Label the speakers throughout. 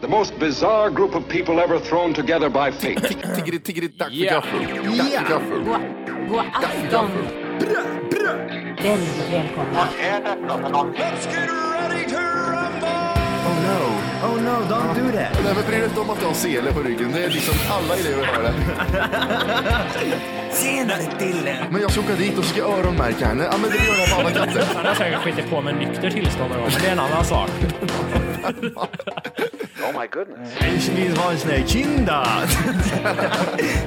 Speaker 1: The most bizarre group of people ever thrown together by fate.
Speaker 2: Tiggeri, tiggeri, dack för
Speaker 3: Ja.
Speaker 2: gaffel. Dack för gaffel.
Speaker 4: God, god afton! Väldigt välkomna.
Speaker 5: Oh no, oh no, don't do that.
Speaker 2: Nej, men bry dig inte om att jag har sele på ryggen. Det är liksom alla elever har det.
Speaker 5: Senare Dille.
Speaker 2: Men jag ska åka dit och ska öronmärka henne. Ja, men det gör jag på alla katter.
Speaker 3: Han har säkert skitit på med nykter tillstånd någon gång, men det är en annan sak.
Speaker 5: Ich will was ne Kinder.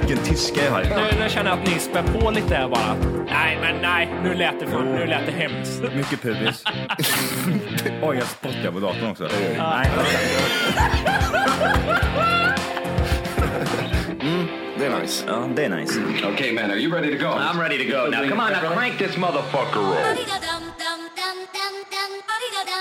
Speaker 5: Vilken tyska jag har.
Speaker 3: Nu, nu känner jag att ni spär på lite här bara. Nej, men nej, nu lät det, för, nu lät det hemskt.
Speaker 6: Mycket pubis. Oj, jag spottar på datorn också.
Speaker 2: Det är nice.
Speaker 6: Ja, det är nice.
Speaker 1: okay, man, are you ready to go? I'm ready to go. Now, come on, now crank this motherfucker roll.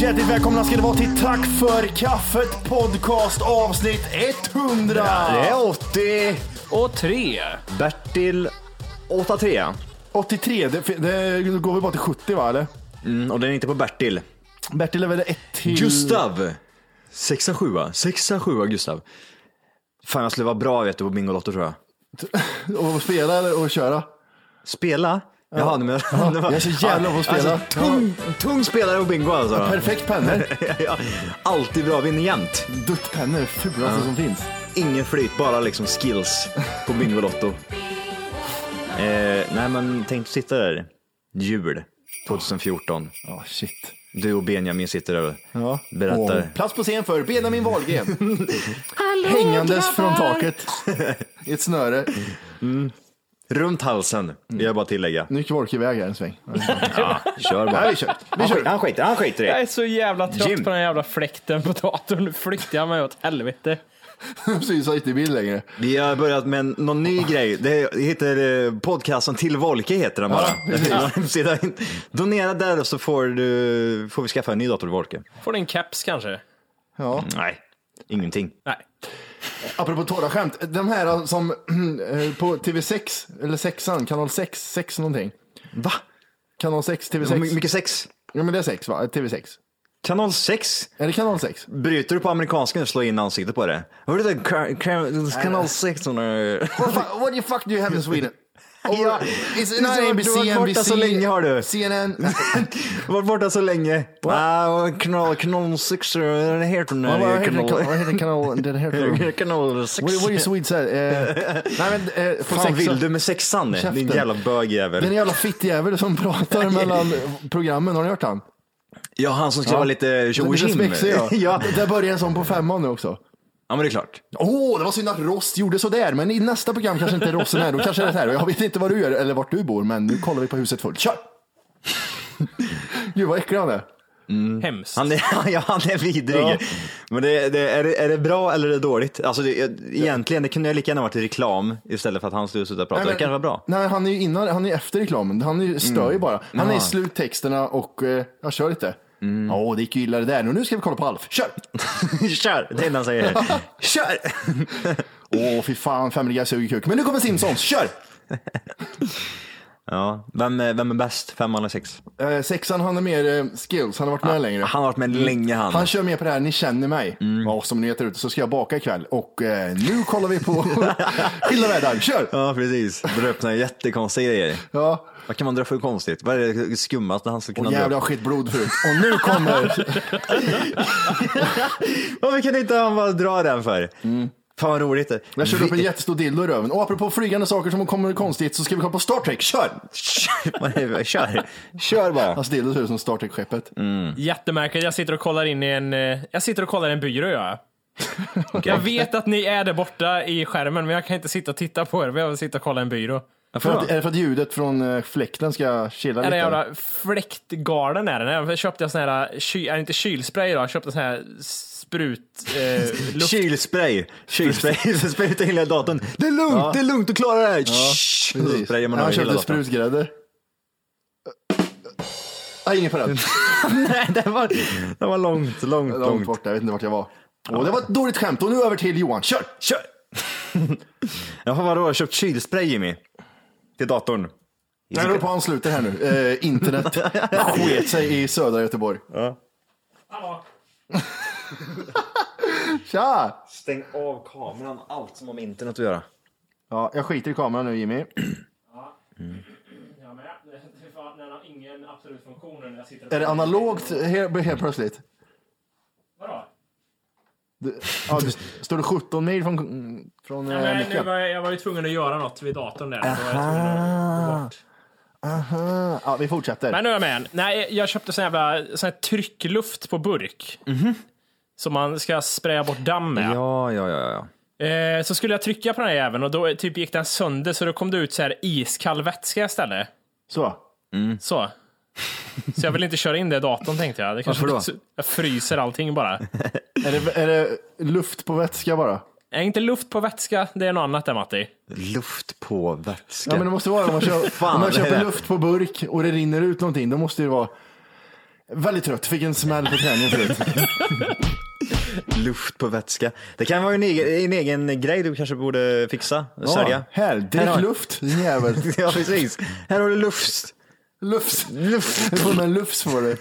Speaker 5: Hjärtligt välkomna ska det vara till Tack för kaffet podcast avsnitt 100.
Speaker 7: Det är 80,
Speaker 3: Och tre.
Speaker 7: Bertil Mm, 83.
Speaker 2: 83, det, det då går vi bara till 70 va, eller?
Speaker 7: Mm, och den är inte på Bertil.
Speaker 2: Bertil är väl ett till...
Speaker 7: Gustav! 67 67 Gustav. Fan, jag skulle vara bra vet du, på Bingolotto tror jag.
Speaker 2: Och spela eller och köra.
Speaker 7: Spela? Jaha, du menar...
Speaker 2: jag är så jävla bra på att spela.
Speaker 7: Alltså, tung, tung spelare på bingo alltså.
Speaker 2: Perfekt pennor.
Speaker 7: Ja, Alltid bra, vinner jämt.
Speaker 2: Duttpennor, fulaste som finns.
Speaker 7: Ingen flyt, bara liksom skills på Bingolotto. Eh, nej, men tänk sitta där. Jul 2014.
Speaker 2: Ja, shit.
Speaker 7: Du och Benjamin sitter där och
Speaker 2: Ja.
Speaker 7: berättar.
Speaker 2: Och Plats på scen för Benjamin Wahlgren. Hängandes från taket. I ett snöre.
Speaker 7: Runt halsen, vill jag bara tillägga.
Speaker 2: Nu gick Wolke iväg här en sväng.
Speaker 7: Kör bara.
Speaker 2: Nej, vi kör. Vi
Speaker 7: Han
Speaker 2: kör.
Speaker 7: skiter- Han skiter, han skiter i
Speaker 3: Jag
Speaker 7: det.
Speaker 3: är så jävla trött
Speaker 7: Jim.
Speaker 3: på den jävla fläkten på datorn. Nu flyktar jag mig åt helvete.
Speaker 2: Precis, har inte i bild längre.
Speaker 7: Vi har börjat med en- någon ny grej. Det heter eh, podcasten Till Volke heter den bara. Hemsida. Donera där och så får, du, får vi skaffa en ny dator till Volke.
Speaker 3: Får du en keps kanske?
Speaker 2: Ja.
Speaker 7: Nej, ingenting.
Speaker 3: Nej.
Speaker 2: Apropå torra skämt, de här som eh, på TV6, eller sexan, kanal 6, 6 någonting.
Speaker 7: Va?
Speaker 2: Kanal 6,
Speaker 7: Hur
Speaker 2: TV6.
Speaker 7: mycket sex?
Speaker 2: Ja men det är 6 va? TV6.
Speaker 7: Kanal 6?
Speaker 2: Är det kanal 6?
Speaker 7: Bryter du på amerikanska och slår in ansiktet på det? Hörde du det? Ka- ka- Kanal 6? hon har-
Speaker 2: What, fu- what the fuck do you have in Sweden?
Speaker 7: Ja,
Speaker 2: It's,
Speaker 7: du har- du har varit borta så länge, har du.
Speaker 2: CNN.
Speaker 7: Varit borta så länge. Ah, kanal, kanal 6, den heter den.
Speaker 2: Vad
Speaker 7: här
Speaker 2: heter den kanal- vad heter den kanal? Den heter...
Speaker 7: Kanal 6.
Speaker 2: What, what do you Swedes här? Eh, nej men, eh, på
Speaker 7: fan
Speaker 2: sexan-
Speaker 7: vill du med sexan? Din
Speaker 2: Käften.
Speaker 7: jävla
Speaker 2: Den
Speaker 7: bögjävel.
Speaker 2: jävla fittjävel som pratar mellan programmen, har ni hört han?
Speaker 7: Ja, han som ska
Speaker 2: Ja.
Speaker 7: vara lite tjo och
Speaker 2: Lite
Speaker 7: tjim.
Speaker 2: spexig ja.
Speaker 7: ja.
Speaker 2: Där börjar en sån på femman nu också.
Speaker 7: ja, men det är klart.
Speaker 2: Åh, det var synd att Ross gjorde sådär, men i nästa program kanske inte Rossen är här, då kanske det är här. Och Jag vet inte vad du gör eller vart du bor, men nu kollar vi på huset fullt. Kör! Gud vad äcklig han är.
Speaker 3: Hemskt.
Speaker 7: Han är, ja, han är vidrig.
Speaker 2: Ja.
Speaker 7: Men det, det, är, det, är det bra eller är det dåligt? Alltså, det, egentligen, det kunde ju lika gärna varit reklam istället för att han skulle sitta och prata.
Speaker 2: Nej, men-
Speaker 7: det kanske var bra.
Speaker 2: Nej, han är ju innan, han är ju efter reklamen. Han är ju, stör ju bara. Han är i sluttexterna och eh, jag kör lite. Åh, det gick ju illa det där. Nu, nu ska vi kolla på Alf. Kör!
Speaker 7: Kör! Det är det han säger. Kör!
Speaker 2: Åh, fy fan, Family Guy suger kuk. Men nu kommer Simpsons. Kör!
Speaker 7: Ja, vem, är- vem är bäst? Femman eller sex?
Speaker 2: Eh, sexan, han har mer eh, skills. Han har varit med längre.
Speaker 7: Ah, Han har varit med länge han.
Speaker 2: Han kör med på det här, ni känner mig. Ja, som ni heter ute så ska jag baka ikväll. Och eh, nu kollar vi på skilda världar. Kör!
Speaker 7: Ja, precis. Drar upp några jättekonstiga grejer.
Speaker 2: Ja.
Speaker 7: Vad kan man dra för konstigt? Vad är det skummaste han skulle kunna
Speaker 2: Och
Speaker 7: dra upp?
Speaker 2: jävla skit blodfrut. Och nu kommer...
Speaker 7: Varför kan inte han bara dra den för? Fan vad roligt. det.
Speaker 2: Jag körde upp en
Speaker 7: Vi-
Speaker 2: jättestor dildo i röven. Och apropå flygande saker som kommer konstigt så ska vi kolla på Star Trek. Kör!
Speaker 7: Kör, vad är det? Kör. Kör bara.
Speaker 2: Hans dildo ser ut som Star Trek-skeppet.
Speaker 7: Mm.
Speaker 3: Jättemärkligt. Jag sitter och kollar in i en... eh, Jag sitter och kollar i en byrå gör jag. Jag vet att ni är där borta i skärmen, men jag kan inte sitta och titta på er. Jag vill sitta och kolla i en byrå.
Speaker 7: Varför
Speaker 2: För
Speaker 7: då?
Speaker 2: att, är det för att ljudet från eh, fläkten ska chilla
Speaker 3: Den
Speaker 2: lite?
Speaker 3: där jävla fläktgarden är den. Jag köpte jag sån här, ky, äh, inte kylspray då, jag köpte sån här sprut... Eh, luft.
Speaker 7: Kylspray. Kylspray. Så sprayar ut hela datorn. Det är lugnt, det är lugnt, du klarar det här. Shh. Så
Speaker 2: Precis.
Speaker 7: sprayar man
Speaker 2: Han
Speaker 7: över hela
Speaker 2: köpte
Speaker 7: datorn.
Speaker 2: sprutgrädde. Ah, ingen parad.
Speaker 7: Nej, det var, det var långt, långt,
Speaker 2: Långt
Speaker 7: långt.
Speaker 2: bort, jag vet inte vart jag var. Åh, det var ett dåligt skämt och nu över till Johan. Kör!
Speaker 7: Kör! Jaha, vadå? Har du köpt kylspray Jimmy? Till datorn?
Speaker 2: Jag håller på att ansluta här nu. Eh, internet sket sig i södra Göteborg.
Speaker 3: Hallå.
Speaker 2: Tja!
Speaker 7: Stäng av kameran, allt som har med internet att göra.
Speaker 2: Ja, jag skiter i kameran nu Jimmy.
Speaker 3: Jag med. Den har ingen absolut funktion när jag sitter
Speaker 2: Är det analogt helt, helt plötsligt?
Speaker 3: Vadå?
Speaker 2: Du, ja, du, står det 17 mil från, från eh,
Speaker 3: Nej, nu
Speaker 2: micken?
Speaker 3: var jag, jag var ju tvungen att göra något vid datorn där. Så jag var tvungen att gå bort.
Speaker 2: Aha. Ja, vi fortsätter.
Speaker 3: Men nu är jag med igen. Nej, jag köpte sån jävla sån här tryckluft på burk.
Speaker 2: Mhm.
Speaker 3: Som man ska spraya bort damm med.
Speaker 7: Ja, ja, ja. ja.
Speaker 3: Eh, så skulle jag trycka på den här jäveln och då typ gick den sönder så då kom det ut så här iskall vätska istället.
Speaker 2: Så.
Speaker 3: Så. Så jag vill inte köra in det i datorn tänkte jag. Det kanske
Speaker 7: Varför då?
Speaker 3: Jag fryser allting bara.
Speaker 2: Är det, är det luft på vätska bara?
Speaker 3: Är inte luft på vätska, det är något annat där Matti.
Speaker 7: Luft på vätska.
Speaker 2: Ja, men det måste vara om man, kö-
Speaker 7: Fan,
Speaker 2: om man
Speaker 7: det är
Speaker 2: köper
Speaker 7: det.
Speaker 2: luft på burk och det rinner ut någonting. Då måste det vara väldigt trött. Fick en smäll på träningen förut.
Speaker 7: Luft på vätska. Det kan vara en egen, en egen grej du kanske borde fixa, sälja.
Speaker 2: här, drick
Speaker 7: Här har-
Speaker 2: luft din jävel.
Speaker 7: Ja, precis. Här har du luft.
Speaker 2: Lufs.
Speaker 7: Luft.
Speaker 2: Du får med en lufs får du.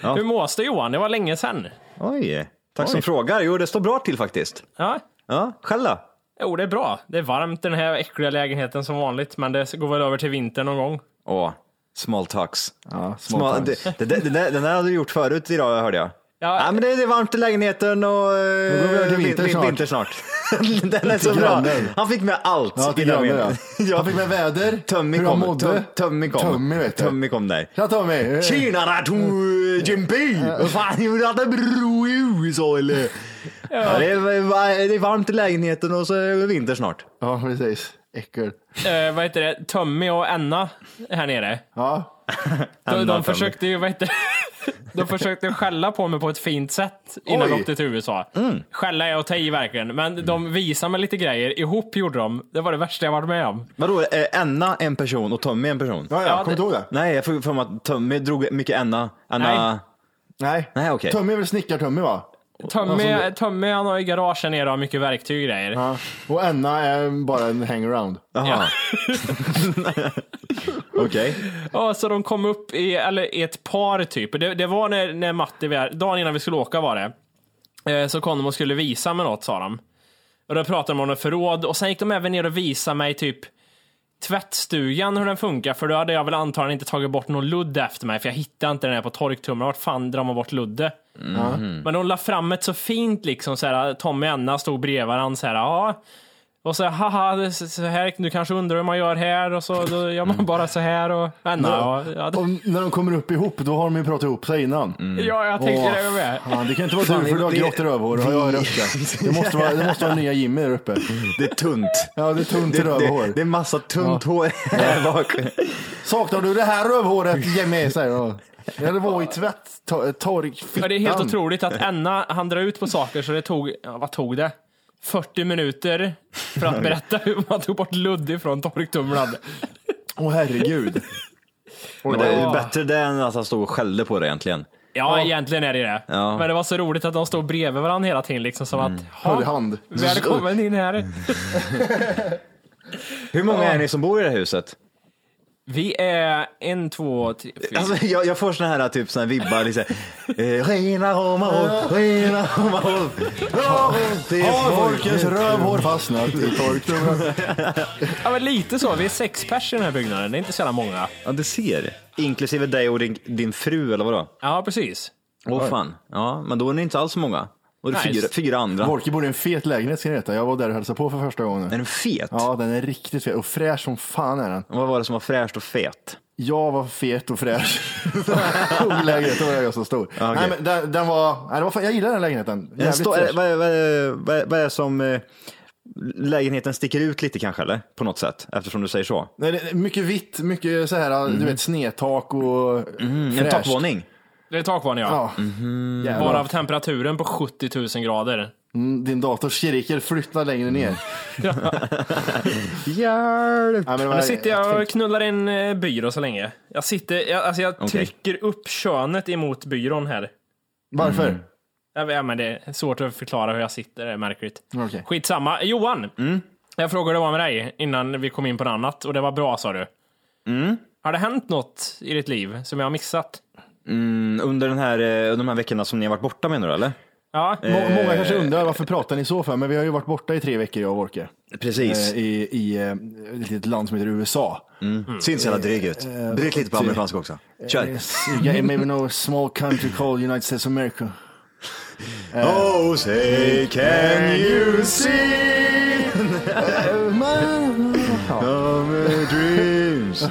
Speaker 3: Hur mås det Johan? Det var länge sedan.
Speaker 7: Oj. Tack som frågar. Jo, det står bra till faktiskt.
Speaker 3: Ja.
Speaker 7: Ja, själv då?
Speaker 3: Jo, det är bra. Det är varmt i den här äckliga lägenheten som vanligt, men det går väl över till vintern någon gång.
Speaker 7: Åh, small talks.
Speaker 2: Ja,
Speaker 7: Small, det, det, det, det, där- den där hade du gjort förut idag hörde jag.
Speaker 3: Ja.
Speaker 7: Ja, men det, det är varmt i lägenheten och eh,
Speaker 2: Då går vi över till
Speaker 7: vin-
Speaker 2: vinter
Speaker 7: vin-
Speaker 2: snart.
Speaker 7: vinter snart. den är så bra.
Speaker 2: grannen.
Speaker 7: Han fick med allt.
Speaker 2: Ja, till
Speaker 7: i den
Speaker 2: grannen ja.
Speaker 7: meningen. ja.
Speaker 2: Han fick med väder,
Speaker 7: Tömmi
Speaker 2: hur han
Speaker 7: kom.
Speaker 2: mådde.
Speaker 7: Töm- Tömmi kom.
Speaker 2: Tömmi vet du.
Speaker 7: Tömmi kom där.
Speaker 2: Tja Tommy!
Speaker 7: Tjenare
Speaker 2: Mm.
Speaker 7: to Jimby! Vad fan, gjorde han en bro i USA eller? Ja, det, är, det är varmt i lägenheten och så är det vinter snart.
Speaker 2: Ja, precis. Äckel.
Speaker 3: Eh, vad heter det? Tommy och Anna här nere.
Speaker 2: Ja,
Speaker 3: De,
Speaker 7: Anna
Speaker 3: de
Speaker 7: och
Speaker 3: försökte ju, vad heter det? De försökte skälla på mig på ett fint sätt innan de
Speaker 2: Oj.
Speaker 3: åkte till USA.
Speaker 7: Mm.
Speaker 3: Skälla är att ta i verkligen, men de visade mig lite grejer. Ihop gjorde de. Det var det värsta jag varit med om.
Speaker 7: Vadå, är Enna en person och Tommy en person?
Speaker 2: ja, ja
Speaker 3: Ja,
Speaker 2: kommer du
Speaker 3: det-
Speaker 2: ihåg det?
Speaker 7: Nej, jag får för mig att Tommy drog mycket Enna. Enna...
Speaker 3: Nej.
Speaker 2: Nej.
Speaker 7: Nej, okej.
Speaker 2: Tommy är väl snickartömmy va?
Speaker 3: Tommy, Tommy han har ju garage här nere och har mycket verktyg och grejer.
Speaker 2: Ja. Och Anna är bara en hangaround.
Speaker 7: Jaha. Okej.
Speaker 3: Ja, så de kom upp i, eller i ett par typ. Det, det var när, när Matti, var här- dagen innan vi skulle åka var det. Eh, Så kom de och skulle visa mig något sa de. Och då pratade de om något förråd och sen gick de även ner och visade mig typ tvättstugan hur den funkar för då hade jag väl antagligen inte tagit bort någon ludd efter mig för jag hittade inte den här på torktumlaren. Vart fan drar man bort ludde? Men de la fram ett så fint liksom så här, Tommy och Anna stod bredvid varandra så här, ja. Och så haha, det är så så här, du kanske undrar hur man gör här och så då gör man bara så här och
Speaker 2: Mm.
Speaker 3: Anna. Ja, ja, det-
Speaker 2: Och när de kommer upp ihop, då har de ju pratat ihop sig innan.
Speaker 3: ja jag tänkte det med.
Speaker 2: Fan, det kan inte vara du för du har
Speaker 7: Mm. det-
Speaker 2: grått i rövhår och jag har rött. Det måste vara, det måste vara nya Jimmy där uppe.
Speaker 7: Det är tunt.
Speaker 2: Ja, det är tunt i
Speaker 7: Det, det,
Speaker 2: rövhår.
Speaker 7: det är massa tunt hår här bak.
Speaker 2: Saknar du det här rövhåret Jimmy? Säger jag. Ja, det var i tvätt, to-
Speaker 3: Ja,
Speaker 2: torkfittan.
Speaker 3: det är helt otroligt att Anna han drar ut på saker så det tog, ja, vad tog det? 40 minuter för att berätta hur man tog bort ludd ifrån torktumlaren.
Speaker 2: Åh herregud.
Speaker 7: Men det är bättre det än att han stod och skällde på det egentligen.
Speaker 3: Ja, egentligen är det det.
Speaker 7: Ja.
Speaker 3: Men det var så roligt att de stod bredvid varandra hela tiden liksom som att,
Speaker 2: Håll i
Speaker 3: "Ha,
Speaker 2: hand.
Speaker 3: välkommen in här.
Speaker 7: Hur många är ni som bor i det här huset?
Speaker 3: Vi är en, två, tre, fyra.
Speaker 7: Alltså, jag, jag får såna här typ såna här vibbar. Liksom. Eh, Rena Romarov, rena Romarov.
Speaker 2: Har folkens rövhår fastnat i torktumlaren?
Speaker 3: Ja, men lite så. Vi är sex pers i den här byggnaden. Det är inte så jävla många.
Speaker 7: Ja, du ser. Inklusive dig och din, din fru eller vadå?
Speaker 3: Ja, precis.
Speaker 7: Åh fan. Ja, men då är ni inte alls så många. Och det är
Speaker 3: Nice.
Speaker 7: fyra, fyra andra.
Speaker 2: Volke bor i en fet lägenhet ska ni veta. Jag var där och hälsade på för första gången
Speaker 7: Är
Speaker 2: nu.
Speaker 7: den fet?
Speaker 2: Ja, den är riktigt fet och fräsch som fan är den.
Speaker 7: Vad var det som var fräscht och fet?
Speaker 2: Jag var fet och fräsch. Och lägenheten var jag så stor.
Speaker 7: okej.
Speaker 2: Nej, men den, den var, nej, det var fan, jag gillar den lägenheten.
Speaker 7: Den
Speaker 2: Jävligt
Speaker 7: står-
Speaker 2: fräsch.
Speaker 7: vad, vad, vad, vad är det som... eh, lägenheten sticker ut lite kanske, eller? På något sätt, eftersom du säger så.
Speaker 2: Nej, det är mycket vitt, mycket så här, du vet, snedtak och
Speaker 7: Mm. En Mm-hmm.
Speaker 2: fräscht.
Speaker 7: takvåning.
Speaker 3: Det är takvarning ja.
Speaker 2: Ja. Jävlar.
Speaker 3: Varav temperaturen på 70 000 grader.
Speaker 2: Mm, Din dator skriker flytta längre ner.
Speaker 7: Hjälp!
Speaker 2: Ja, men det var-
Speaker 3: Nu sitter jag och knullar in eh, byrå så länge. Jag sitter, jag, alltså jag trycker upp könet emot byrån här.
Speaker 2: Varför?
Speaker 7: Mm.
Speaker 3: Jag vet, Ja, men det är svårt att förklara hur jag sitter, det är märkligt.
Speaker 2: Okej. Mm.
Speaker 3: Skitsamma. Johan! Jag frågade vad med dig innan vi kom in på något annat och det var bra sa du.
Speaker 2: Mm.
Speaker 3: Har det hänt något i ditt liv som jag har missat?
Speaker 7: Mm, under den här, eh, de här veckorna som ni har varit borta menar du eller?
Speaker 3: Ja,
Speaker 2: Må- Många kanske undrar varför pratar ni så för? Men vi har ju varit borta i tre veckor jag och Orke.
Speaker 7: Precis.
Speaker 2: Eh, I, i eh, ett litet land som heter USA.
Speaker 7: Mm. Syns jävla dryg ut. Bryt lite på amerikanska också. Kör.
Speaker 2: Yeah, maybe no small country called United States of America.
Speaker 7: Oh say can you see my dreams?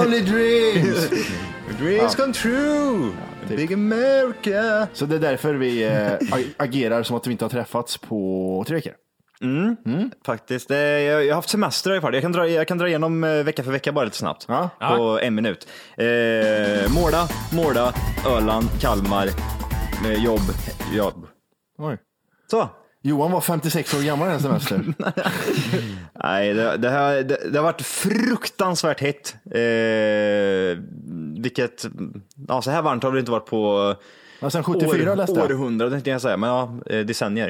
Speaker 2: Only dreams!
Speaker 7: Dreams come true. Big America.
Speaker 2: Så det är därför vi eh, ag- agerar som att vi inte har träffats på tre veckor. Mm.
Speaker 7: Faktiskt. eh, Jag jag har haft semester i alla fall. Jag kan dra, jag kan dra igenom eh, vecka för vecka bara lite snabbt.
Speaker 2: Ja.
Speaker 7: På en minut. Eh, Måla, Måla, Öland, Kalmar, eh, jobb, jobb.
Speaker 2: Oj.
Speaker 7: Så.
Speaker 2: Johan var 56 år gammal den här semestern.
Speaker 7: Nej, det, det, här, det, det har varit fruktansvärt hett. Eh, vilket, ja, så här varmt har det inte varit på
Speaker 2: Ja, sen 74 läste jag. Mm.
Speaker 7: århundraden, tänkte jag säga, men ja, eh, decennier.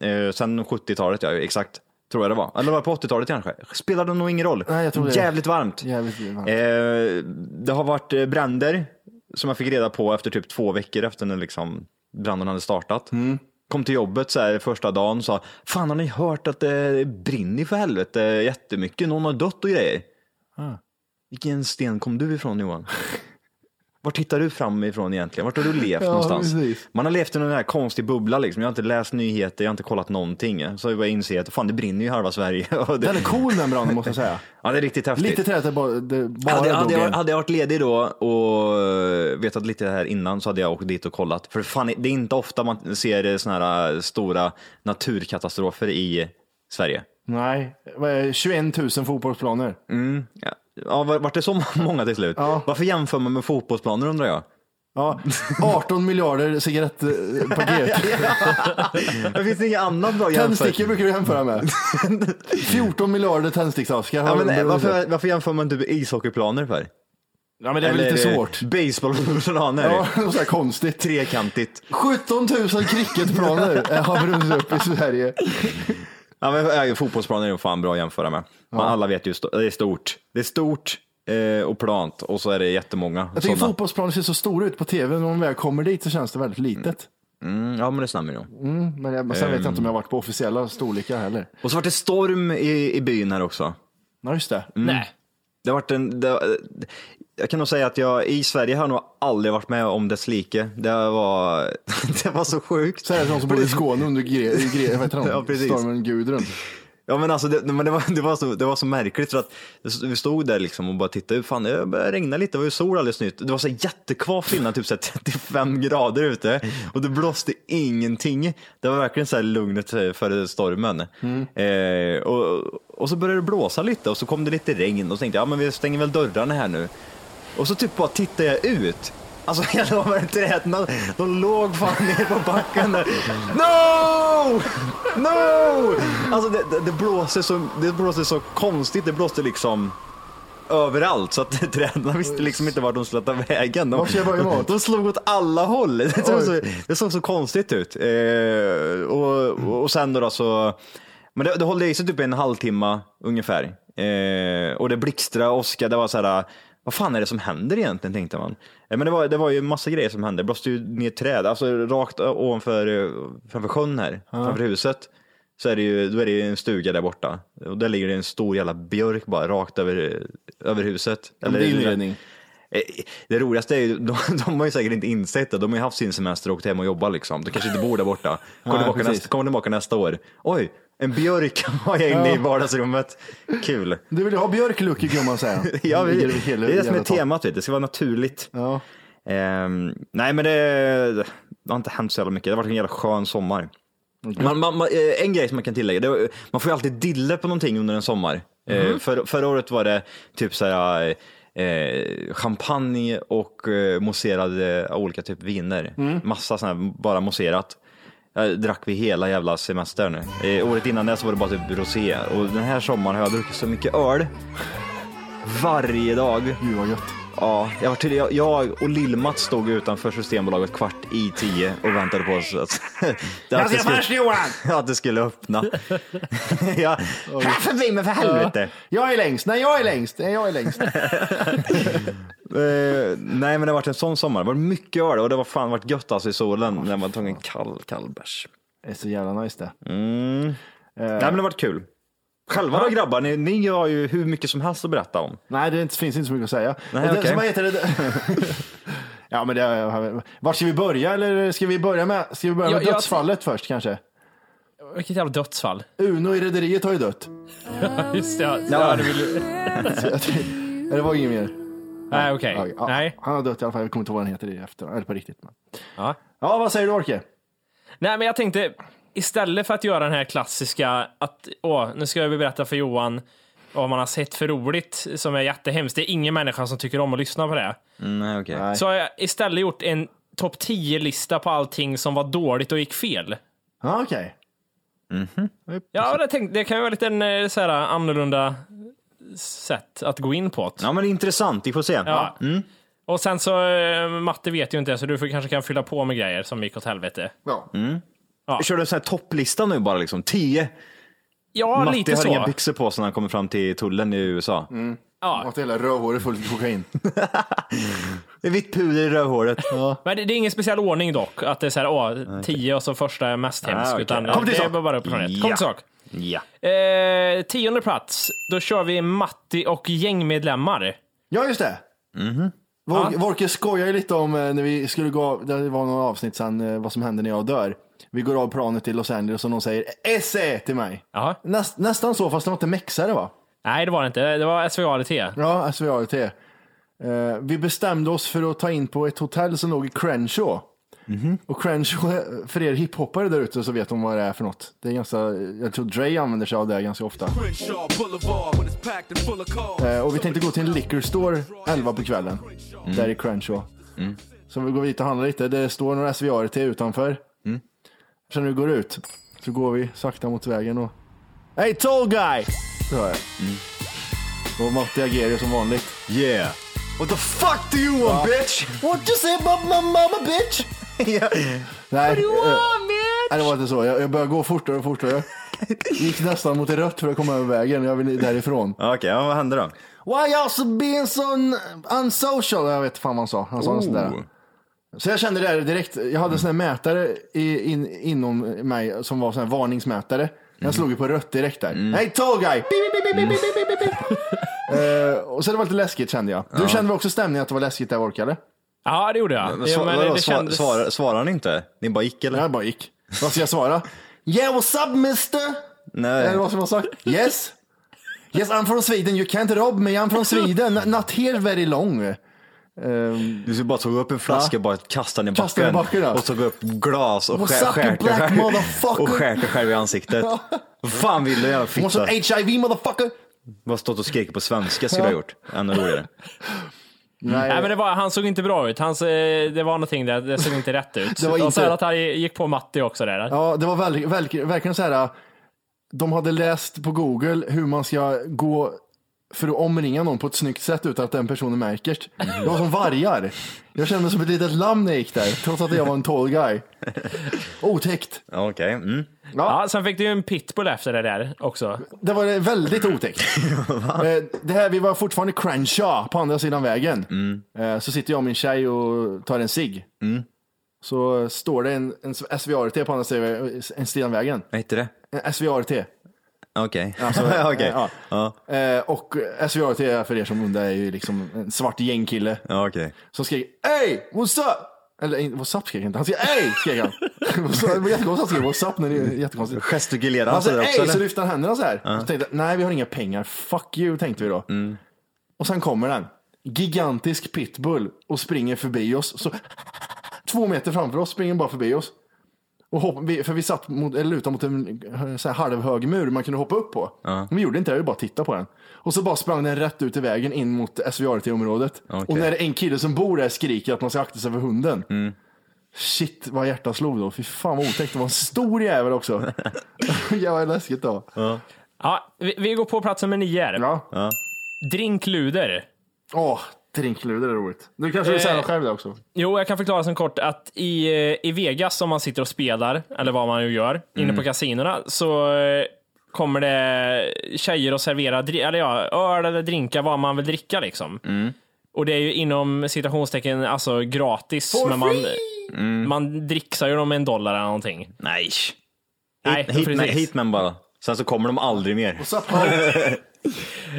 Speaker 7: Eh, sen 70-talet, ja, exakt. Tror jag det var. Eller var det på 80-talet kanske? Spelade nog ingen roll.
Speaker 2: Nej, jag tror det.
Speaker 7: Jävligt varmt.
Speaker 2: Jävligt varmt.
Speaker 7: Eh, det har varit eh, bränder som jag fick reda på efter typ två veckor efter när liksom branden hade startat.
Speaker 2: Mm.
Speaker 7: Kom till jobbet så här första dagen och sa, fan har ni hört att det brinner för helvete jättemycket, någon har dött och grejer. Vilken sten kom du ifrån Johan? Var tittar du fram ifrån egentligen? Vart har du levt
Speaker 2: Ja,
Speaker 7: någonstans?
Speaker 2: precis.
Speaker 7: Man har levt i någon här konstig bubbla liksom. Jag har inte läst nyheter, jag har inte kollat någonting. Så jag bara inser att fan det brinner ju i halva Sverige. Och det,
Speaker 2: Den är cool den branden måste jag säga.
Speaker 7: ja, det är riktigt häftigt.
Speaker 2: Lite trädet bara, det bara
Speaker 7: Hade, hade,
Speaker 2: drog
Speaker 7: jag,
Speaker 2: in.
Speaker 7: hade jag varit ledig då och eh, vetat lite här innan så hade jag åkt dit och kollat. För fan, det är inte ofta man ser sådana här eh, stora naturkatastrofer i Sverige.
Speaker 2: Nej, vad är det? 21 000 fotbollsplaner.
Speaker 7: Ja, ja var- vart det så många till slut?
Speaker 2: Mm. Ja.
Speaker 7: Varför jämför man med fotbollsplaner undrar jag?
Speaker 2: Ja, 18 miljarder cigarettpaket.
Speaker 7: Det finns inget annat bra jämfört.
Speaker 2: Tändstickor brukar vi jämföra med. 14 miljarder tändsticksaskar.
Speaker 7: Ja, men, eh, varför, varför jämför man inte med ishockeyplaner för? eh,
Speaker 2: ja, men det är väl lite svårt.
Speaker 7: Baseballplaner.
Speaker 2: Ja, det var så här konstigt.
Speaker 7: Trekantigt.
Speaker 2: 17 000 cricketplaner eh, har brunnit upp i Sverige.
Speaker 7: Ja, men, eh, fotbollsplaner är nog fan bra att jämföra med. Men alla vet ju, sto- det är stort. Det är stort eh, och plant och så är det jättemånga.
Speaker 2: Jag tycker
Speaker 7: sådana.
Speaker 2: fotbollsplaner ser så stora ut på tv, men när man väl kommer dit så känns det väldigt litet.
Speaker 7: Mm, ja, men det stämmer nog.
Speaker 2: Men jag, men sen vet jag inte om jag har varit på officiella storlekar heller.
Speaker 7: Och så vart det storm i, i byn här också.
Speaker 2: Ja, just det.
Speaker 3: nej.
Speaker 7: Det har varit en, det, jag kan nog säga att jag i Sverige har jag nog aldrig varit med om dess like. Det var, det var så sjukt.
Speaker 2: Så här är det de som bor i Skåne under gre, gre, vad heter den?
Speaker 7: Ja, precis.
Speaker 2: stormen Gudrun.
Speaker 7: Ja, men alltså, det, men det, var, det, var så, det var så märkligt för att vi stod där liksom och bara tittade. Fan, det började regna lite, det var ju sol alldeles nytt. Det var så jättekvavt innan, typ så här 35 grader ute och det blåste ingenting. Det var verkligen så här lugnet före stormen. Eh, och, och så började det blåsa lite och så kom det lite regn och så tänkte jag, ja men vi stänger väl dörrarna här nu. Och så typ bara tittar jag ut. Alltså jag lovar, träden, de låg fan ner på backen där. No! No! Alltså det, det, det, blåste så, det blåste så konstigt, det blåste liksom överallt så att träden visste liksom inte vart de skulle ta vägen. De,
Speaker 2: Vart ska jag börja med?
Speaker 7: de slog åt alla håll. Det såg, så, det såg så konstigt ut. Eh,
Speaker 2: Mm.
Speaker 7: och, och sen då, då så, men det, det höll i sig typ en halvtimme ungefär. Eh, och det blixtrade, åska, det var så här, vad fan är det som händer egentligen tänkte man. Eh, men det var, det var ju massa grejer som hände, det blåste ju ner träd, alltså rakt ovanför eh, framför sjön här, framför huset. Så är det ju, då är det ju en stuga där borta och där ligger det en stor jävla björk bara rakt över, över huset.
Speaker 2: Det är inredning.
Speaker 7: Eh, Det roligaste är ju, de, de har ju säkert inte insett det. De har ju haft sin semester och åkt hem och jobbat liksom. De kanske inte bor där borta. Kommer
Speaker 2: Nej,
Speaker 7: tillbaka,
Speaker 2: precis.
Speaker 7: nästa, kommer tillbaka nästa år. Oj, en björk har jag inne i vardagsrummet. Kul.
Speaker 2: Du vill ju ha björklucke gumman säger han.
Speaker 7: Ja, vi,
Speaker 2: Ligger över hela
Speaker 7: det är det som
Speaker 2: jävla
Speaker 7: är
Speaker 2: taket.
Speaker 7: temat, vet du. det ska vara naturligt.
Speaker 2: Ja.
Speaker 7: Ehm, nej men det, det har inte hänt så jävla mycket. Det har varit en jävla skön sommar. Man, man, man, eh, en grej som man kan tillägga, det, var- man får ju alltid dille på någonting under en sommar. Eh, för, förra året var det typ så här, eh, champagne och eh, mousserade olika typ viner. Massa sådana här, bara mousserat. Eh, drack vi hela jävla semestern. Eh, året innan det så var det bara typ rosé. Och den här sommaren har jag druckit så mycket öl. Varje dag.
Speaker 2: Gud vad gött.
Speaker 7: Ja, jag, var till, jag, jag och Lill-Mats stod utanför Systembolaget kvart i tio och väntade på oss. Att, det
Speaker 5: Jag ska först Johan!
Speaker 7: att det skulle öppna. ja, förbi mig för helvete.
Speaker 2: Jag är längst, nej jag är längst, nej jag är längst.
Speaker 7: Eh, nej, men det har varit en sån sommar. Det var mycket öl och det var fan varit gött alltså i solen när man tog en kall, kall bärs.
Speaker 2: Det är så jävla nice det.
Speaker 7: Eh, Nej, men det har varit kul. Själva då grabbar, ni, ni har ju hur mycket som helst att berätta om.
Speaker 2: Nej, det är inte- finns inte så mycket att säga.
Speaker 7: Nej,
Speaker 2: Och det,
Speaker 7: okej.
Speaker 2: som vad heter det? ja, men det har- vart ska vi börja? Eller ska vi börja med, ska vi börja med
Speaker 3: Ja, jag-
Speaker 2: dödsfallet först kanske?
Speaker 3: Vilket jävla dödsfall.
Speaker 2: Uno i Rederiet har ju dött.
Speaker 3: Just det, ja.
Speaker 7: Ja.
Speaker 3: det vill...
Speaker 2: Det var ingen mer.
Speaker 3: Nej, okej.
Speaker 2: Ja, ja,
Speaker 3: Nej.
Speaker 2: Han har dött i alla fall. Jag kommer inte ihåg vad han heter i efter. Eller på riktigt. Men.
Speaker 3: Ja.
Speaker 2: Ja, vad säger du Orke?
Speaker 3: Nej, men jag tänkte istället för att göra den här klassiska att åh, nu ska jag berätta för Johan vad man har sett för roligt som är jättehemskt. Det är ingen människa som tycker om att lyssna på det.
Speaker 7: Nej, okej.
Speaker 2: Nej.
Speaker 3: Så har jag istället gjort en topp 10-lista på allting som var dåligt och gick fel.
Speaker 2: Ja, okej.
Speaker 3: Ja, det, tänkte, det kan ju vara lite en eh, så här, annorlunda sätt att gå in på det.
Speaker 7: Ja, men det är intressant. Vi får se.
Speaker 3: Ja. Och sen så, eh, Matte vet ju inte så du får, kanske kan fylla på med grejer som gick åt helvete.
Speaker 2: Ja.
Speaker 7: Kör du en sån här topplista nu bara liksom? Tio?
Speaker 3: Ja,
Speaker 7: Matti
Speaker 3: lite
Speaker 7: har inga
Speaker 3: så.
Speaker 7: byxor på sig när han kommer fram till tullen i USA.
Speaker 3: Ja.
Speaker 2: Att hela rövhålet fullt med kokain.
Speaker 7: Det är vitt puder i rövhåret. Ja.
Speaker 3: Men det, det är ingen speciell ordning dock, att det är så här, åh, tio och så första är mest hemsk.
Speaker 7: Ah, okej.
Speaker 3: utan,
Speaker 7: Kom till
Speaker 3: det är
Speaker 7: sak.
Speaker 3: bara upp från rätt. Kom
Speaker 7: Ja.
Speaker 3: till sak.
Speaker 7: ja.
Speaker 3: Eh, tionde plats, då kör vi Matti och gängmedlemmar.
Speaker 2: Ja, just det. Mhm. Vor- Vorke skojar ju lite om eh, när vi skulle gå av, det var några avsnitt sen, eh, vad som händer när jag dör. Vi går av planet till Los Angeles och någon säger SE till mig.
Speaker 3: Jaha.
Speaker 2: Näst, nästan så, fast det var inte mexare va?
Speaker 3: Nej, det var det inte. Det var SVART.
Speaker 2: Ja, SVART. Eh, vi bestämde oss för att ta in på ett hotell som låg i Crenshaw. Och Crenshaw, eh, för er hiphoppare där ute så vet de vad det är för något. Det är ganska, jag tror Dre använder sig av det ganska ofta.
Speaker 4: Crenshaw Boulevard when it's packed and full of cars.
Speaker 2: Eh, och vi tänkte gå till en liquor store 11 på kvällen. Där i Crenshaw. Så vi går dit och handlar lite. Det står några SVART utanför. Så när vi går ut så går vi sakta mot vägen och... Hey tall guy! Så hör jag. Och Matti agerar ju som vanligt.
Speaker 7: Yeah. What the fuck do you want bitch?
Speaker 2: What you say about my mama bitch? Nej, eh, nej, det var inte så. Jag, jag började gå fortare och fortare. Gick nästan mot rött för att komma över vägen. Jag ville därifrån.
Speaker 7: Okej, ja, vad hände då?
Speaker 2: Why you also being so unsocial? Oh. Jag vet fan vad han sa. Han sa något sånt där. Så jag kände det här direkt. Jag hade en sån här mätare i, in, inom mig som var sån här varningsmätare. Jag slog ju på rött direkt där. Hey tall guy! Beep, Mm. beep, beep, beep, beep, beep, beep, beep. Eh, och så det var lite läskigt kände jag. Du kände väl också stämningen att det var läskigt där orkade?
Speaker 3: Ja, det gjorde jag.
Speaker 7: Men,
Speaker 3: Ja,
Speaker 7: sva-
Speaker 3: men
Speaker 7: vadå,
Speaker 3: det
Speaker 7: sva-
Speaker 3: kändes-
Speaker 7: svarar, svarar ni inte? Ni bara gick eller?
Speaker 2: Jag bara gick. Vad ska jag svara? Yeah what's up mister? Eller
Speaker 7: Nej.
Speaker 2: vad som har sagt. Yes. Yes, I'm from Sweden. You can't rob me. I'm from Sweden. Not here very long. Ehm,
Speaker 7: Du bara tog upp en flaska
Speaker 2: Ja.
Speaker 7: och bara kastade den i
Speaker 2: Kastade den i
Speaker 7: backen.
Speaker 2: backen, ja.
Speaker 7: Och tog upp glas och
Speaker 2: What's
Speaker 7: skär,
Speaker 2: up,
Speaker 7: skärt dig
Speaker 2: black
Speaker 7: själv-
Speaker 2: motherfucker?
Speaker 7: och skärt dig själv i ansiktet. Vad fan vill du jävla
Speaker 2: want some
Speaker 7: fitta?
Speaker 2: HIV motherfucker?
Speaker 7: Bara stått och skrikit på svenska skulle jag ha gjort. Ännu roligare.
Speaker 2: Nej,
Speaker 3: Nej, men det var, han såg inte bra ut. Hans, eh, det var någonting där, det såg inte rätt ut.
Speaker 2: Det var
Speaker 3: Och
Speaker 2: inte-
Speaker 3: sen att han gick på Matti också där.
Speaker 2: Ja, det var väl, väl, verkligen så här. äh, De hade läst på Google hur man ska gå för att omringa någon på ett snyggt sätt utan att den personen märker det. Det var som vargar. Jag kände mig som ett litet lamm när jag gick där, trots att jag var en tall guy. Otäckt.
Speaker 7: Ja, Okej. Mm.
Speaker 3: Ja, sen fick du ju en pitbull efter det där också.
Speaker 2: Det var väldigt otäckt. Eh, det här, vi var fortfarande i Crenshaw på andra sidan vägen.
Speaker 7: Mm.
Speaker 2: Eh, Så sitter jag och min tjej och tar en cigg. Så står det en, en SVRT på andra sidan en sidan vägen. Eh,
Speaker 7: Vad hette det?
Speaker 2: En SVRT.
Speaker 7: Okej.
Speaker 2: Alltså,
Speaker 7: Okej.
Speaker 2: eh,
Speaker 7: Ja.
Speaker 2: Eh, Och SVRT är för er som undrar är ju liksom en svart gängkille
Speaker 7: Ja, okej.
Speaker 2: som skrek Hey, what's up? Eller in- what's up skrek han inte, han skrek Hey, skrek han. det var jättekonstigt att han skrek what's up när det är jättekonstigt.
Speaker 7: Gestikulerade han
Speaker 2: Han
Speaker 7: sådär
Speaker 2: säger
Speaker 7: också
Speaker 2: ey, så
Speaker 7: eller?
Speaker 2: lyfter han händerna så här. Så tänkte jag, nej vi har inga pengar, fuck you tänkte vi då.
Speaker 7: Mm.
Speaker 2: Och sen kommer den, gigantisk pitbull och springer förbi oss. Så, två meter framför oss springer bara förbi oss. Och hopp, vi, för vi satt mot, eller lutade mot en eh, så här halvhög mur man kunde hoppa upp på.
Speaker 7: Ja.
Speaker 2: Men vi gjorde inte det, vi bara tittade på den. Och så bara sprang den rätt ut i vägen in mot SVRT-området.
Speaker 7: Okej. Mm.
Speaker 2: Och när en kille som bor där skriker att man ska akta sig för hunden. Shit vad hjärtat slog då. Fy fan vad otäckt. Det var en stor jävel också. Jävlar vad läskigt då.
Speaker 3: Ja, vi, vi går på plats nummer nio. här.
Speaker 2: Ja.
Speaker 3: Drinkluder.
Speaker 2: Åh, drinkluder är roligt. Du kanske vill säga
Speaker 7: Eh.
Speaker 2: något själv där också?
Speaker 3: Jo, jag kan förklara sen kort att i, eh, i Vegas om man sitter och spelar, eller vad man nu gör, inne på kasinorna, så eh, kommer det tjejer och servera dri- eller ja, öl eller drinkar, vad man vill dricka liksom. Och det är ju inom citationstecken alltså gratis, men man, man dricksar ju dem med en dollar eller någonting.
Speaker 7: Nej.
Speaker 3: Nej,
Speaker 7: Hit, hit, med,
Speaker 3: precis.
Speaker 7: hit med bara. Sen så kommer de aldrig mer.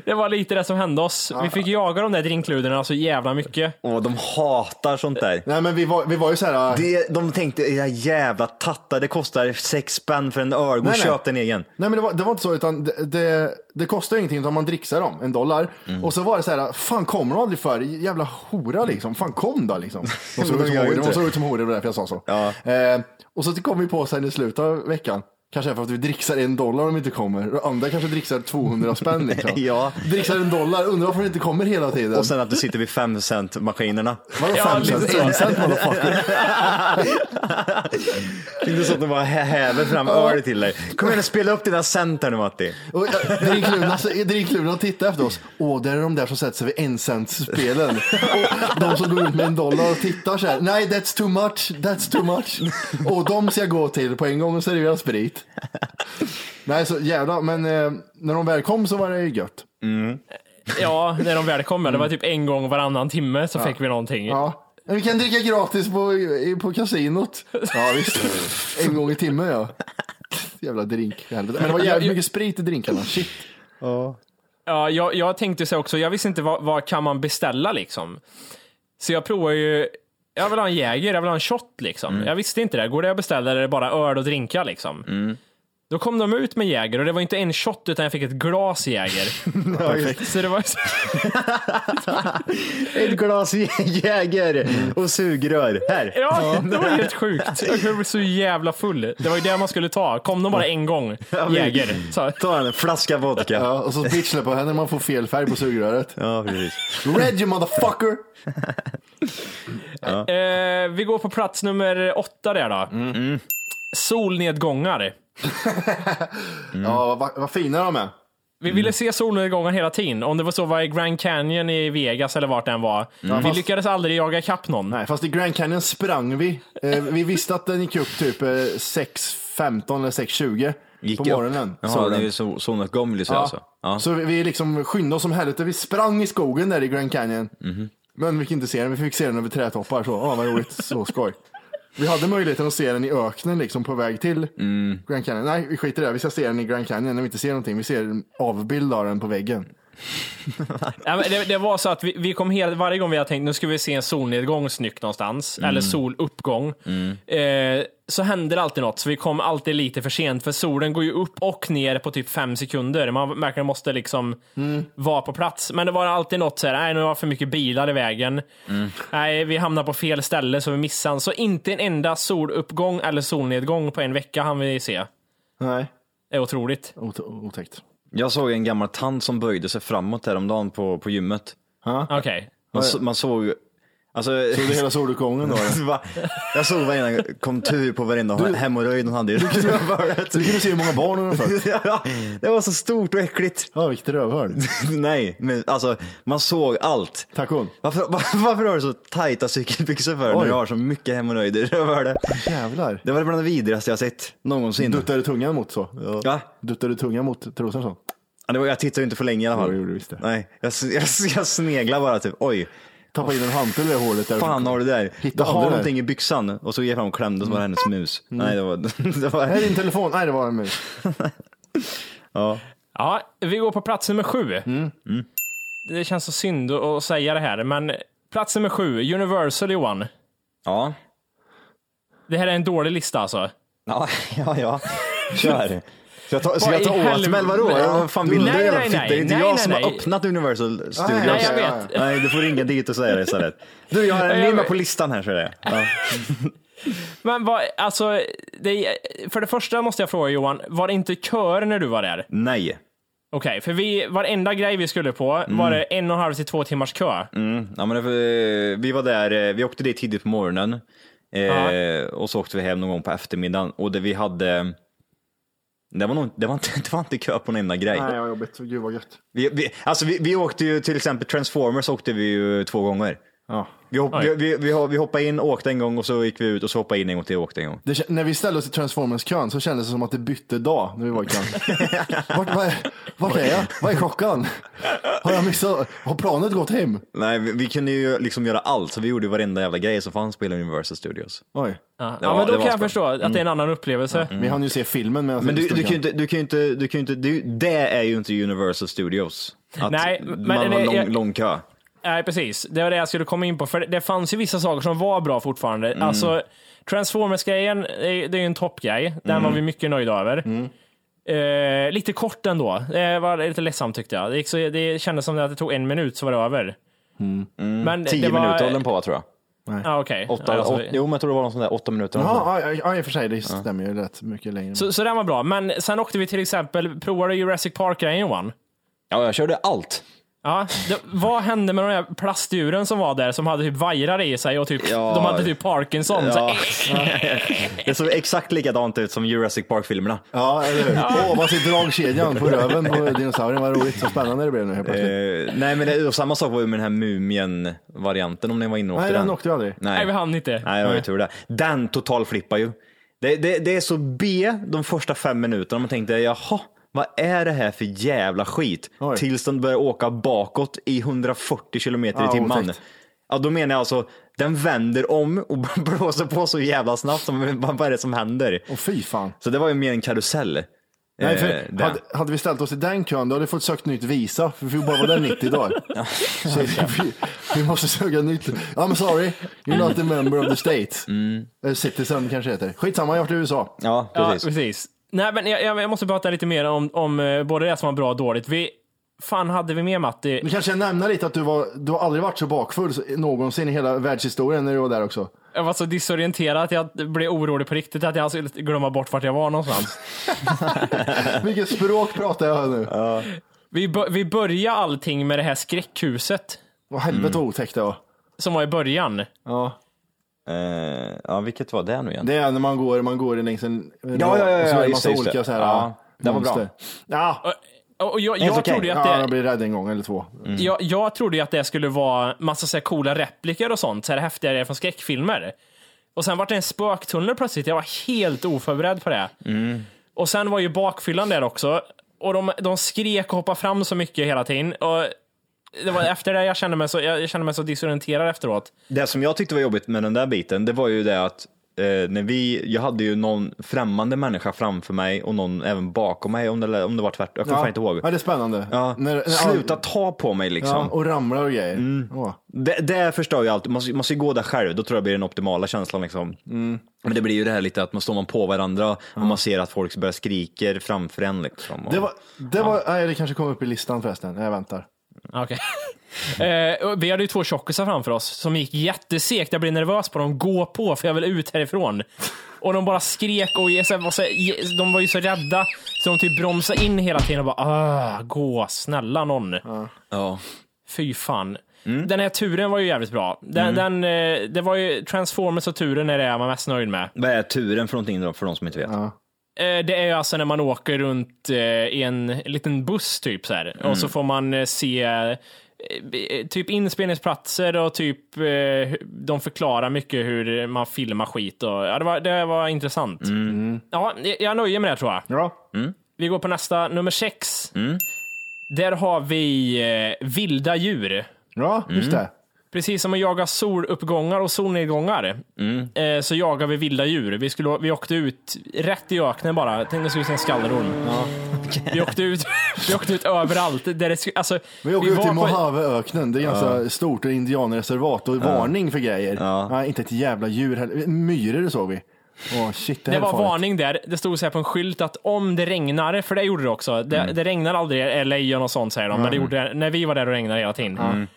Speaker 3: Det var lite det som hände oss. Vi fick jaga de där drinkluderna så jävla mycket.
Speaker 7: Åh, de hatar sånt där.
Speaker 2: Nej men vi var, vi var ju så här.
Speaker 7: Det, de tänkte, era jävla tattar, det kostar sex spänn för en öl. Gå och
Speaker 2: Nej, nej.
Speaker 7: köp den egen.
Speaker 2: Nej men det var, det var inte så utan det, det, det kostar ju ingenting utan man dricksar dem, en dollar.
Speaker 7: Mm.
Speaker 2: Och så var det så här, fan kom de aldrig för? Jävla hora liksom, fan kom då liksom. De såg
Speaker 7: Men de
Speaker 2: ut som
Speaker 7: gör ju
Speaker 2: horor,
Speaker 7: inte.
Speaker 2: de såg ut som horor, det var därför jag sa så.
Speaker 7: Ja.
Speaker 2: Eh, och så kom vi på sen i slutet av veckan, kanske för att vi dricksar en dollar om de inte kommer. Och andra kanske dricksar 200 spänn liksom.
Speaker 7: Ja.
Speaker 2: Dricksar en dollar, undrar varför de inte kommer hela tiden.
Speaker 7: Och sen att du sitter vid 5 cent maskinerna.
Speaker 2: Vadå
Speaker 3: Ja,
Speaker 2: fem
Speaker 3: lite
Speaker 2: cent,
Speaker 3: så.
Speaker 2: en cent motherfucker?
Speaker 7: Inte så att de bara hä- häver fram öl till dig. Kom igen och spela upp dina cent här nu Matti.
Speaker 2: Och eh, Drinklurarna drinklurarna tittar efter oss. Åh, där är de där som sätter sig vid encentsspelen. Och de som går ut med en dollar och tittar så här. Nej, that's too much, that's too much. Och de ska jag gå till på en gång och servera sprit. Nej, så jävla, men eh, när de väl kom så var det ju gött.
Speaker 3: Ja, när de väl kom. Det var typ en gång varannan timme så fick vi någonting.
Speaker 2: Ja. Men Vi kan dricka gratis på, i- på kasinot. Ja, visst. En gång i timmen, ja. Jävla drink. helvete. Men det var jävligt mycket sprit i drinkarna. Shit.
Speaker 3: Ja, jag, jag tänkte så också, jag visste inte vad, vad kan man beställa liksom. Så jag provar ju, jag vill ha en Jäger, jag vill ha en shot liksom. Jag visste inte det, går det att beställa eller är det bara öl och drinkar liksom? Då kom de ut med Jäger och det var inte en shot utan jag fick ett glas Jäger. så det var
Speaker 7: Ett glas Jäger och sugrör. Här.
Speaker 3: Ja, det var helt sjukt. Jag kunde bli så jävla full. Det var ju det man skulle ta. Kom de bara en gång, Jäger. Så,
Speaker 7: Ta en flaska vodka.
Speaker 2: Ja, och så bitchlar på henne när man får fel färg på sugröret.
Speaker 7: Ja, precis.
Speaker 2: Red you motherfucker!
Speaker 3: eh, vi går på plats nummer åtta där då. Solnedgångar.
Speaker 2: Ja,
Speaker 7: Mm.
Speaker 2: vad, vad fina de är.
Speaker 3: Vi ville se solnedgångar hela tiden. Om det var så var i Grand Canyon i Vegas eller vart den var. Vi lyckades aldrig jaga kapp någon.
Speaker 2: Nej, fast i Grand Canyon sprang vi. Eh, vi visste att den gick upp typ eh, 6.15 eller 6.20 på morgonen.
Speaker 7: Jaha,
Speaker 2: solen.
Speaker 7: det är ju so- solnedgång vill du säga alltså. Ja.
Speaker 2: Så vi, vi liksom skyndade oss som helvete. Vi sprang i skogen där i Grand Canyon.
Speaker 7: Mhm.
Speaker 2: Men vi fick inte se den. Vi fick se den över trätoppar. Så, åh vad roligt. Så skoj. Vi hade möjligheten att se den i öknen liksom på väg till
Speaker 7: Mm.
Speaker 2: Grand Canyon. Nej, vi skiter i det. Vi ska se den i Grand Canyon när vi inte ser någonting. Vi ser en avbild av den på väggen.
Speaker 3: Nej, men Det, det var så att vi, vi kom hela, varje gång vi hade tänkt nu ska vi se en solnedgång snyggt någonstans, eller soluppgång, eh, så hände det alltid något. Så vi kom alltid lite för sent, för solen går ju upp och ner på typ fem sekunder. Man verkligen måste liksom vara på plats. Men det var alltid något så här, nej nu har för mycket bilar i vägen. Nej, vi hamnar på fel ställe så vi missar den. Så inte en enda soluppgång eller solnedgång på en vecka hann vi se.
Speaker 2: Nej,
Speaker 3: Det är otroligt.
Speaker 2: Ot- otäckt.
Speaker 7: Jag såg en gammal tant som böjde sig framåt häromdagen på, på gymmet.
Speaker 3: Okej.
Speaker 7: Man, så, man såg... Alltså,
Speaker 2: Såg du hela soluppgången då? eller?
Speaker 7: Va? Jag såg varenda kontur på varenda hemorrojd hon hade i rövhålet.
Speaker 2: Så du kunde se hur många barn hon har fött.
Speaker 7: Ja, Det var så stort och äckligt.
Speaker 2: Ja, vilket rövhål.
Speaker 7: Nej, men alltså man såg allt.
Speaker 2: Tacon.
Speaker 7: Varför, var, varför har du så tajta cykelbyxor för när
Speaker 2: Oj.
Speaker 7: du har så mycket hemorrojder i rövhålet?
Speaker 2: Jävlar.
Speaker 7: Det var bland det vidrigaste jag sett någonsin.
Speaker 2: Duttade du tungan mot så?
Speaker 7: Va?
Speaker 2: Duttade du tungan mot trosan så?
Speaker 7: Ja, det var, jag tittade ju inte för länge i alla
Speaker 2: Ja,
Speaker 7: fall.
Speaker 2: det gjorde du visst det.
Speaker 7: Nej, jag, jag, jag sneglade bara typ. Oj,
Speaker 2: Tappa in en hantel i det hålet. Där.
Speaker 7: fan har du där?
Speaker 2: Hitta
Speaker 7: jag
Speaker 2: aldrig
Speaker 7: har
Speaker 2: det.
Speaker 7: någonting i byxan. Och så gick jag fram och klämde och så var det hennes mus.
Speaker 3: Mm.
Speaker 7: Nej, det var... Det var
Speaker 2: Här är din telefon. Nej, det var en mus.
Speaker 7: ja.
Speaker 3: Ja, vi går på plats nummer sju. Mm. Det känns så synd att säga det här, men plats nummer sju, Universal Johan.
Speaker 7: ja.
Speaker 3: Det här är en dålig lista alltså.
Speaker 7: Ja, ja, ja. Kör. Ska jag ta, ska jag ta
Speaker 3: Vad i
Speaker 7: åt mig eller vadå?
Speaker 3: helvete?
Speaker 7: Vad fan vill du?
Speaker 3: Nej,
Speaker 7: jävla
Speaker 3: nej,
Speaker 7: fitta? Det är inte
Speaker 3: nej,
Speaker 7: jag
Speaker 3: nej,
Speaker 7: som har
Speaker 3: nej.
Speaker 7: öppnat Universal Studios.
Speaker 3: Nej, jag
Speaker 2: Okej, ja,
Speaker 3: vet.
Speaker 7: Nej, du får ringa dit och säga det istället. Du, jag har
Speaker 3: Jag
Speaker 7: en ny med
Speaker 3: vet.
Speaker 7: på listan här, så är det. Ja.
Speaker 3: Men vad, alltså, det, för det första måste jag fråga Johan, var det inte köer när du var där?
Speaker 7: Nej.
Speaker 3: Okej, för vi, varenda grej vi skulle på var det en och en halv till två timmars kö.
Speaker 7: Mm. Ja, men, eh, vi var där, eh, vi åkte dit tidigt på morgonen eh,
Speaker 3: Ja.
Speaker 7: och så åkte vi hem någon gång på eftermiddagen och det vi hade det var, nog, det, var inte, det var inte kö på en enda grej.
Speaker 2: Nej, vad jobbigt. Gud vad gött.
Speaker 7: Vi, vi, alltså vi, vi åkte ju till exempel Transformers åkte vi ju två gånger.
Speaker 2: Ja.
Speaker 7: Vi, hopp,
Speaker 3: Oj.
Speaker 7: vi, vi, vi, ho- vi hoppade in, åkte en gång och så gick vi ut och så hoppade in en gång till och åkte en gång.
Speaker 2: Det, kä- när vi ställde oss i Transformers-kön så kändes det som att det bytte dag när vi var i kön. Vart, var, vart är jag? Vad är klockan? Har jag missat? Har planet gått hem?
Speaker 7: Nej, vi, vi kunde ju liksom göra allt så vi gjorde varenda jävla grej som fanns på hela Universal Studios.
Speaker 2: Oj.
Speaker 3: Ja,
Speaker 7: Ja,
Speaker 3: men då
Speaker 7: det var Mm.
Speaker 3: kan jag
Speaker 7: spännande.
Speaker 3: förstå att det är en annan upplevelse.
Speaker 2: Vi hann ju se filmen medan
Speaker 7: Men
Speaker 2: vi
Speaker 7: du,
Speaker 2: stod i
Speaker 7: du kan ju
Speaker 2: kön.
Speaker 7: inte, du kan ju inte, du kan ju inte, du, det är ju inte Universal Studios. Att
Speaker 3: Nej, men
Speaker 7: man har
Speaker 3: det-
Speaker 7: lång,
Speaker 3: jag-
Speaker 7: lång kö.
Speaker 3: Nej, precis. Det var det jag skulle komma in på. För det- det fanns ju vissa saker som var bra fortfarande.
Speaker 7: Mm.
Speaker 3: Alltså, Transformers-grejen, det är det är ju en toppgrej. Den
Speaker 7: Mm.
Speaker 3: var vi mycket nöjda över. Eh, lite kort ändå. Det var lite ledsamt tyckte jag. Det, gick så, det kändes som att det tog en minut så var det över. Men det-
Speaker 7: Mm. Tio
Speaker 3: det var,
Speaker 7: minuter höll den på tror jag.
Speaker 3: Ja, okej.
Speaker 7: Åtta,
Speaker 3: Ja, alltså,
Speaker 7: åt, jo men jag tror det var någon sån där åtta minuter.
Speaker 2: Ja, ja, ja, i och för sig. Det stämmer ju rätt mycket längre.
Speaker 3: så, så den var bra. Men sen åkte vi till exempel, provade Jurassic Park-grejen Johan.
Speaker 7: ja, jag körde allt.
Speaker 3: Ja, det, vad hände med de där plastdjuren som var där som hade typ vajrar i sig och typ,
Speaker 7: Ja.
Speaker 3: de hade typ Parkinson. Så,
Speaker 7: Ja. det såg exakt likadant ut som Jurassic Park-filmerna.
Speaker 2: Ja, eller hur? Åh, vad sitter dragkedjan på röven på dinosaurien? Vad roligt. Så spännande det blev nu helt plötsligt.
Speaker 7: Eh, nej men det, och samma sak var ju med den här mumien-varianten om ni var inne och åkte
Speaker 2: Nej,
Speaker 7: den.
Speaker 2: den åkte jag aldrig.
Speaker 3: nej,
Speaker 7: Nej,
Speaker 3: vi hann inte.
Speaker 7: nej det var ju tur det. Den totalflippar ju. Det, det, det är så B de första fem minuterna. Man tänkte jaha, vad är det här för jävla skit?
Speaker 2: Oj.
Speaker 7: Tills den börjar åka bakåt i 140 kilometer i
Speaker 2: Ja,
Speaker 7: timmen.
Speaker 2: otäckt.
Speaker 7: Ja, då menar jag alltså, den vänder om och blåser på så jävla snabbt. som- Vad är det som händer?
Speaker 2: Och fy fan.
Speaker 7: Så det var ju mer en karusell.
Speaker 2: Nej,
Speaker 7: Eh,
Speaker 2: för
Speaker 7: den.
Speaker 2: hade, hade vi ställt oss i den kön, då hade vi fått sökt nytt visa. För vi bara var där 90 dagar. Så vi, vi måste söka nytt. I'm sorry, you're not a member of the state. Eller citizen kanske heter. Skitsamma, jag har varit i USA.
Speaker 7: Mm. Ja,
Speaker 3: Ja,
Speaker 7: precis.
Speaker 3: precis. Nej, men jag, jag jag måste prata lite mer om, om eh, både det som var bra och dåligt. Vi, fan hade vi med Matti?
Speaker 2: Nu kanske jag nämner lite att du, var, du har aldrig varit så bakfull någonsin i hela världshistorien när du var där också.
Speaker 3: Jag var så disorienterad att jag blev orolig på riktigt att jag skulle glömma bort vart jag var någonstans.
Speaker 2: Vilket språk pratar jag nu?
Speaker 3: vi, bör, vi började allting med det här skräckhuset
Speaker 2: Vad helvete
Speaker 7: Mm.
Speaker 2: vad otäckt det var.
Speaker 3: som var i början.
Speaker 2: Ja.
Speaker 7: Eh, ja, vilket var det nu igen?
Speaker 2: Det är när man går, man går längs en en
Speaker 7: ja, ja,
Speaker 2: och så är det
Speaker 7: just
Speaker 2: massa
Speaker 7: det, just
Speaker 2: olika
Speaker 7: det.
Speaker 2: så här.
Speaker 7: Ja, det var bra.
Speaker 2: monster. Ja,
Speaker 3: Och, och jag,
Speaker 7: Helt
Speaker 3: jag,
Speaker 7: okej.
Speaker 3: trodde ju att
Speaker 2: ja,
Speaker 3: det,
Speaker 2: jag blir rädd en gång eller två.
Speaker 3: Jag, jag trodde ju att det skulle vara massa så här coola repliker och sånt, så här häftiga grejer från skräckfilmer. Och sen vart det en spöktunnel plötsligt, jag var helt oförberedd på det. Och sen var ju bakfyllan där också, och de, de skrek och hoppade fram så mycket hela tiden. Och det var efter det jag kände mig så, jag kände mig så disorienterad efteråt.
Speaker 7: Det som jag tyckte var jobbigt med den där biten, det var ju det att eh, när vi, jag hade ju någon främmande människa framför mig och någon även bakom mig, om det, om det var tvärtom. Jag kommer fan inte ihåg.
Speaker 2: Ja, det är spännande.
Speaker 7: Ja,
Speaker 2: När- när-
Speaker 7: sluta Mm. ta på mig
Speaker 2: Ja,
Speaker 7: liksom.
Speaker 2: och ramlar och grejer. Åh.
Speaker 7: Det, det förstör ju allt. Man måste, man måste ju gå där själv, då tror jag det blir den optimala känslan. Liksom.
Speaker 2: Mm.
Speaker 7: Men det blir ju det här lite att man står man på varandra och man ser att folk börjar skriker framför en. Liksom, och...
Speaker 2: Det var, det var, nej det kanske kommer upp i listan förresten. Jag väntar.
Speaker 3: Okej. eh, och vi hade ju två tjockisar framför oss som gick jättesegt. Jag blev nervös på dem. Gå på, för jag vill ut härifrån. Och de bara skrek och ge- så här var så här- ge- de var ju så rädda så de typ bromsade in hela tiden och bara ah, gå, snälla någon.
Speaker 7: ja.
Speaker 3: Fy fan. Den här turen var ju jävligt bra. Den, den, eh, det var ju Transformers och turen är det jag var mest nöjd med.
Speaker 7: Vad är turen för någonting då, för de som inte vet?
Speaker 3: Eh, Det är ju alltså när man åker runt eh, i en liten buss typ så här. Och så får man eh, se eh, eh, typ inspelningsplatser och typ eh, hu- de förklarar mycket hur man filmar skit och ja, det var, det var intressant. Ja, jag- jag nöjer mig där tror jag.
Speaker 2: Ja.
Speaker 3: Vi går på nästa, nummer sex. Där har vi eh, vilda djur.
Speaker 2: Ja, just
Speaker 7: Mm.
Speaker 2: det.
Speaker 3: Precis som att jaga soluppgångar och solnedgångar eh, så jagar vi vilda djur. Vi, skulle, vi åkte ut rätt i öknen bara. Tänkte att det skulle se en skallerorm. Vi, åkte ut, vi åkte ut överallt. Där det, sku- alltså,
Speaker 2: Vi åker ut
Speaker 3: var
Speaker 2: i
Speaker 3: på-
Speaker 2: Mojaveöknen. Det är ganska stort och indianreservat och varning för grejer. Nej, inte ett jävla djur heller. Myror såg vi. Åh shit, det,
Speaker 3: Det
Speaker 2: här
Speaker 3: var
Speaker 2: är farligt.
Speaker 3: varning där. Det stod så här på en skylt att om det regnar, för det gjorde det också. Det, det regnar aldrig i lejon och sånt säger de, men det gjorde det när vi var där och regnade hela tiden.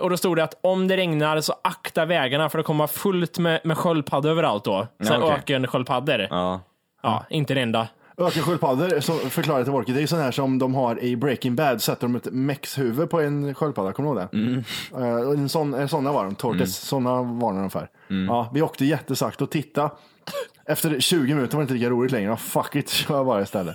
Speaker 3: Och då stod det att om det regnar så akta vägarna för det kommer vara fullt med, med sköldpaddor överallt då. Så
Speaker 7: okej.
Speaker 3: Ökensköldpaddor. Ja.
Speaker 7: Ja.
Speaker 3: inte det enda.
Speaker 2: Ökensköldpaddor, som förklarar till Walker, det är sån här som de har i Breaking Bad, sätter de ett mexhuvud på en sköldpadda, kommer du ihåg det? Eh, och en sån, eh, såna var de, Tortes, såna var de ungefär. Ja, vi åkte jättesakt och titta. Efter 20 minuter var det inte lika roligt längre, Ja, fuck it, kör bara istället.